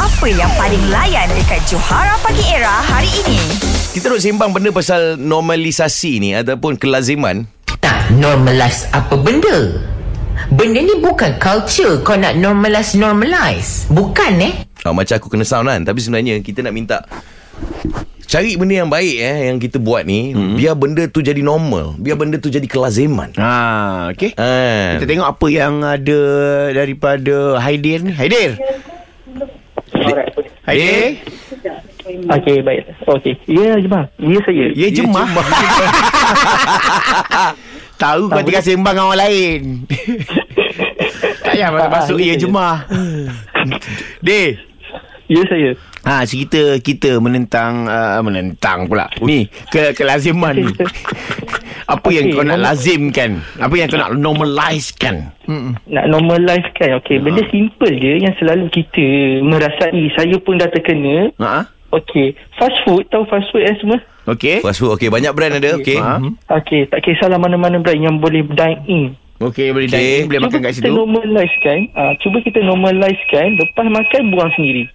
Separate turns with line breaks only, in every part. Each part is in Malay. Apa yang paling layan dekat Johara Pagi Era hari ini?
Kita duk sembang benda pasal normalisasi ni ataupun kelaziman.
Tak normalize apa benda Benda ni bukan culture Kau nak normalize-normalize Bukan eh
Ah, macam aku kena sound kan. Tapi sebenarnya kita nak minta cari benda yang baik eh yang kita buat ni hmm. biar benda tu jadi normal, biar benda tu jadi kelaziman.
Ha, okey.
Ha.
Kita tengok apa yang ada daripada Haidir ni. Haidir.
Alright.
Haidir.
Okey, baik. Okey. Ya, Jemah. Ya, saya.
Ya jemah. Tahu kau tengah sembang dengan orang lain. tak payah masuk,
Ah,
masuk
ya
ya
je.
jemah. Deh.
Ya, saya.
Ha, cerita kita menentang uh, menentang pula. Ni ke kelaziman ni. Apa yang
Okey,
kau nak
normal-
lazimkan? Apa yang kau nak normalizekan?
Nak normalize
Ya.
kan. Okey, benda simple je yang selalu kita merasai. Saya pun dah terkena.
Ha?
Okey, fast food. Tahu fast food eh semua?
Okey.
Fast food okey banyak brand ada okey.
Ha?
Okey, tak kisahlah mana-mana brand yang boleh dine in.
Okey, boleh
Okey.
okay. boleh makan kat situ.
kita normalize kan. Ah, cuba kita normalize kan. Lepas makan, buang sendiri.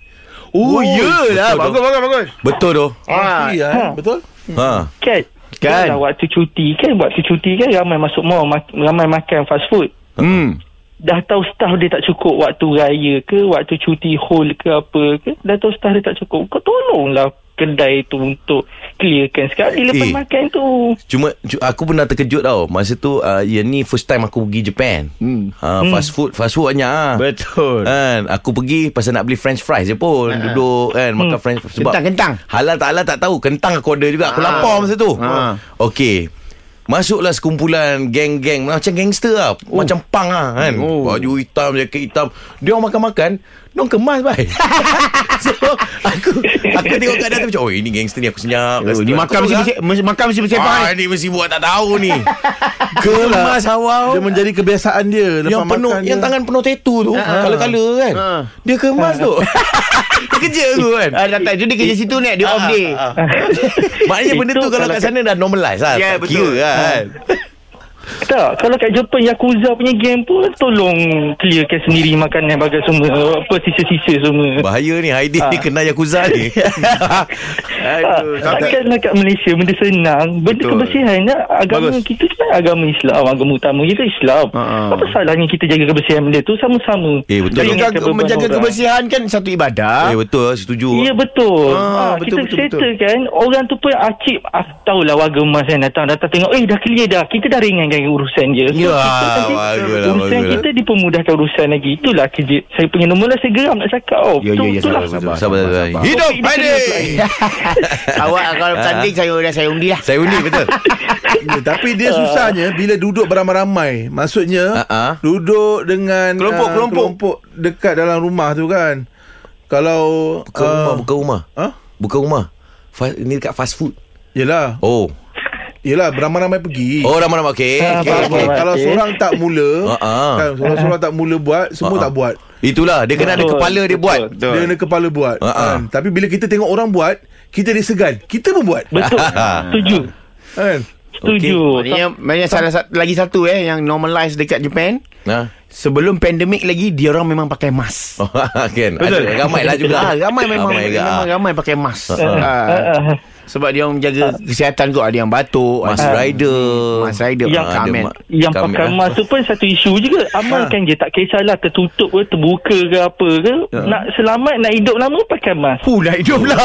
Oh,
betul,
yelah. Bagus,
betul.
bagus, bagus.
Betul tu.
Ah,
Ha.
Betul?
Ha.
Kan?
Kan.
Dah waktu cuti kan. Waktu cuti kan ramai masuk mall. Mak- ramai makan fast food.
Hmm.
dah tahu staff dia tak cukup waktu raya ke waktu cuti whole ke apa ke dah tahu staff dia tak cukup kau tolonglah kedai tu untuk clearkan sekali lepas
Eh.
makan tu
Cuma cu- aku pernah terkejut tau. Masa tu uh, yang ni first time aku pergi Japan.
Hmm.
Ha, fast food, fast food banyak ah.
Betul.
Kan aku pergi pasal nak beli french fries je pun
Ha.
duduk kan
Hmm.
makan french fries sebab
Kentang, kentang.
halal tak halal tak tahu kentang aku order juga aku lapar masa tu
Ah.
okey Masuklah sekumpulan geng-geng Macam gangster lah oh. Macam punk lah kan oh.
Oh.
Baju hitam, jaket hitam Dia orang makan-makan Dia orang kemas bhai So aku Aku tengok keadaan tu macam Oh ini gangster ni aku senyap
Oh, ni makan mesti bersih, mesti- makan mesti
Eh,
bersepah.
Ah,
ni.
ni mesti buat tak tahu ni Kemas awal
Dia menjadi kebiasaan dia lepas
yang penuh
makan
yang
dia. Ah,
tangan penuh tatu tu kala-kala kan
Ha.
dia kemas tu dia kerja tu kan
Ah, dah tak jadi kerja situ
Ah,
ni
ah,
dia off day.
maknanya benda tu
Itu
kalau kat sana dah normalize lah
Ya,
tak kira
betul.
Ah.
kan
tak kalau kat Jepun Yakuza punya game pun tolong clearkan sendiri makanan bagai semua apa sisa-sisa semua
bahaya ni Haidin ni
Ah.
kena Yakuza ni
Ah,
Aduh,
Ha, takkanlah kat Malaysia benda senang
Betul.
benda Betul. kebersihan nak agama
Bagus.
Bagus. kita kan agama Islam agama utama kita Islam
Ha, ha.
apa salahnya kita jaga kebersihan benda tu sama-sama
Eh, betul.
Jangan
menjaga,
beban
menjaga
orang.
kebersihan kan satu ibadah.
eh betul lah, setuju
Ya betul.
Ah,
Ah,
betul,
betul
betul,
kita settle kan. Orang tu pun acik ah, tahulah warga emas yang datang datang tengok eh dah clear dah. Kita dah ringankan urusan je.
Ya,
kita nanti
lah,
baguslah,
urusan
baguslah.
kita dipermudahkan urusan lagi. Itulah kerja. Saya punya nombor lah saya geram nak cakap. Oh,
Ya, ya, ya,
itulah.
sabar, sabar.
sabar sabar
sabar.
hidup
Topik dia
Haidin
kena
Awak kalau tanding saya dah saya undi lah.
saya undi betul
Ya, tapi dia susahnya bila duduk beramai-ramai. Maksudnya
Ah, ah.
duduk dengan
Kelompok,
ah,
kelompok.
kelompok dekat dalam rumah tu kan. Kalau
buka rumah buka rumah
Ha?
buka rumah Fa- ni dekat fast food
Yelah
oh
Yelah beramai-ramai pergi
oh ramai-ramai okey
Ah,
okey,
Kalau-
okey.
baik.
Kalau
okey.
seorang tak mula
Ah, ah.
kan, Seorang-seorang tak mula buat Semua
Ah, ah.
tak buat
itulah dia kena ada
Betul,
kepala dia buat
Betul.
Dia kena kepala buat
Ah, ah.
kan. Tapi bila kita tengok orang buat Kita dia segan Kita pun buat
Betul. Setuju.
kan.
Setuju.
Maknanya, maknanya salah satu, lagi satu eh yang normalize dekat Japan.
nah
Sebelum pandemik lagi dia orang memang pakai
Ha?
mask.
Oh, kan Betul. Ada, ramai lah juga
Ah, ramai memang
ramai,
ramai,
juga.
memang ramai pakai mask.
Ha, ha.
Ah. Sebab dia orang menjaga kesihatan kot ada yang batuk,
Mas
ada-
Rider
Mas Rider
Yang-
Ah, ada
Kamen.
ma-
Yang
Kamen,
pakai
lah.
ah.
mask tu pun satu isu juga.
Ha.
Amalkan je. Tak kisahlah tertutup ke, terbuka ke apa ke.
Ya.
Nak selamat, nak hidup lama pakai mask.
Hu dah hidup lah.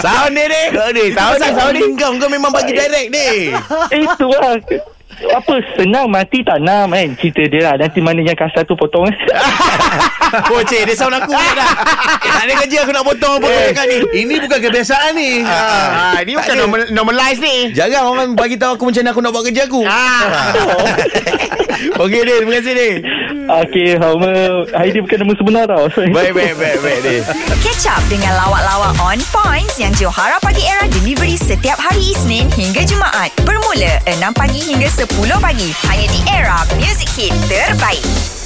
Sound ni ni Sound ni Sound ni Sound ni Kau, kau memang bagi direct ni
Eh tu lah Apa senang mati tanam kan Cerita dia lah Nanti mana yang kasar tu potong eh.
Kocik Oh, dia sound aku pula dah Tak ada kerja aku nak potong apa
Eh.
kau cakap ni
Ini bukan kebiasaan ni
Ah, ini bukan normal, normalize ni.
Jarang orang bagi tahu aku macam mana aku nak buat kerja aku
Ah. Okey Din, terima kasih Din.
Okay Homer Haidi bukan nama sebenar tau Sorry.
Baik, baik, baik, baik Din.
Catch up dengan lawak-lawak on points yang Johara Pagi Era delivery setiap hari Isnin hingga Jumaat. Bermula 6 pagi hingga 10 pagi. Hanya di Era Music Hit Terbaik.